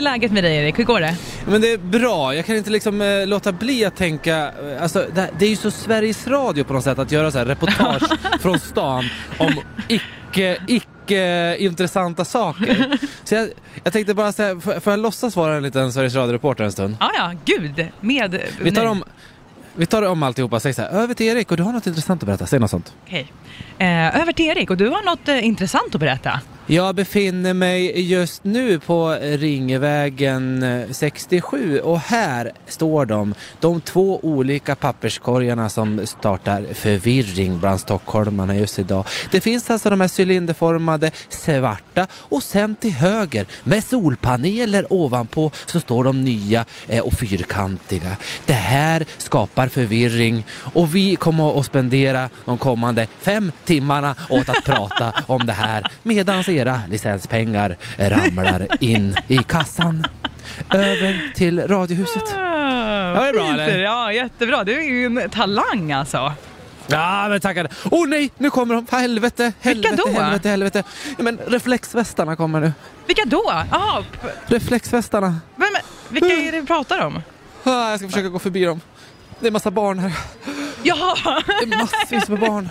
läget med dig Erik? Hur går det? Men det är bra, jag kan inte liksom eh, låta bli att tänka, eh, alltså det, det är ju så Sveriges Radio på något sätt att göra så här reportage från stan om icke, icke intressanta saker. Så jag, jag tänkte bara säga, får får jag låtsas vara en liten Sveriges Radio-reporter en stund? Ja, ja, gud. Med... Vi tar nej. om, vi tar om alltihopa, säg så här, över till Erik och du har något intressant att berätta, säg något sånt. Okej. Eh, över till Erik och du har något eh, intressant att berätta. Jag befinner mig just nu på Ringvägen eh, 67 och här står de, de två olika papperskorgarna som startar förvirring bland stockholmarna just idag. Det finns alltså de här cylinderformade svarta och sen till höger med solpaneler ovanpå så står de nya eh, och fyrkantiga. Det här skapar förvirring och vi kommer att spendera de kommande fem timmarna åt att prata om det här medan era licenspengar ramlar in i kassan. Över till Radiohuset. Ja, det är bra, eller? Ja, jättebra. Du är ju en talang alltså. Ja, men tackar. Oh nej, nu kommer de. För helvete, helvete, Vilka då? helvete, helvete. Ja, men reflexvästarna kommer nu. Vilka då? Jaha, p- Reflexvästarna. men, men, vilka är det vi pratar om? Ah, jag ska försöka gå förbi dem. Det är massa barn här. Jaha, Det är massvis med barn.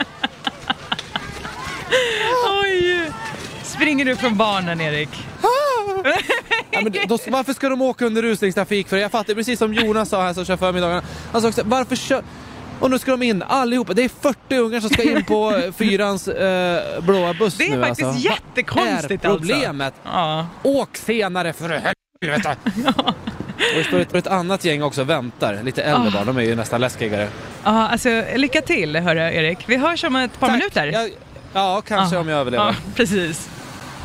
oj! Springer du från barnen Erik? Ja, men då, varför ska de åka under rusningstrafik? För jag fattar precis som Jonas sa här som kör förmiddagarna. Han sa också, varför kör... Och nu ska de in allihopa. Det är 40 ungar som ska in på eh, fyrans eh, blåa buss Det är nu faktiskt alltså. jättekonstigt Vad är alltså. problemet? Ja. Åk senare för helvete! Och det står ett, ett annat gäng också och väntar. Lite Ah. äldre barn, de är ju nästan läskigare. ja, alltså lycka till hörru Erik. Vi hörs om ett par minuter. Ah. Jag, ja, kanske Ja. om jag överlever. Ja, precis.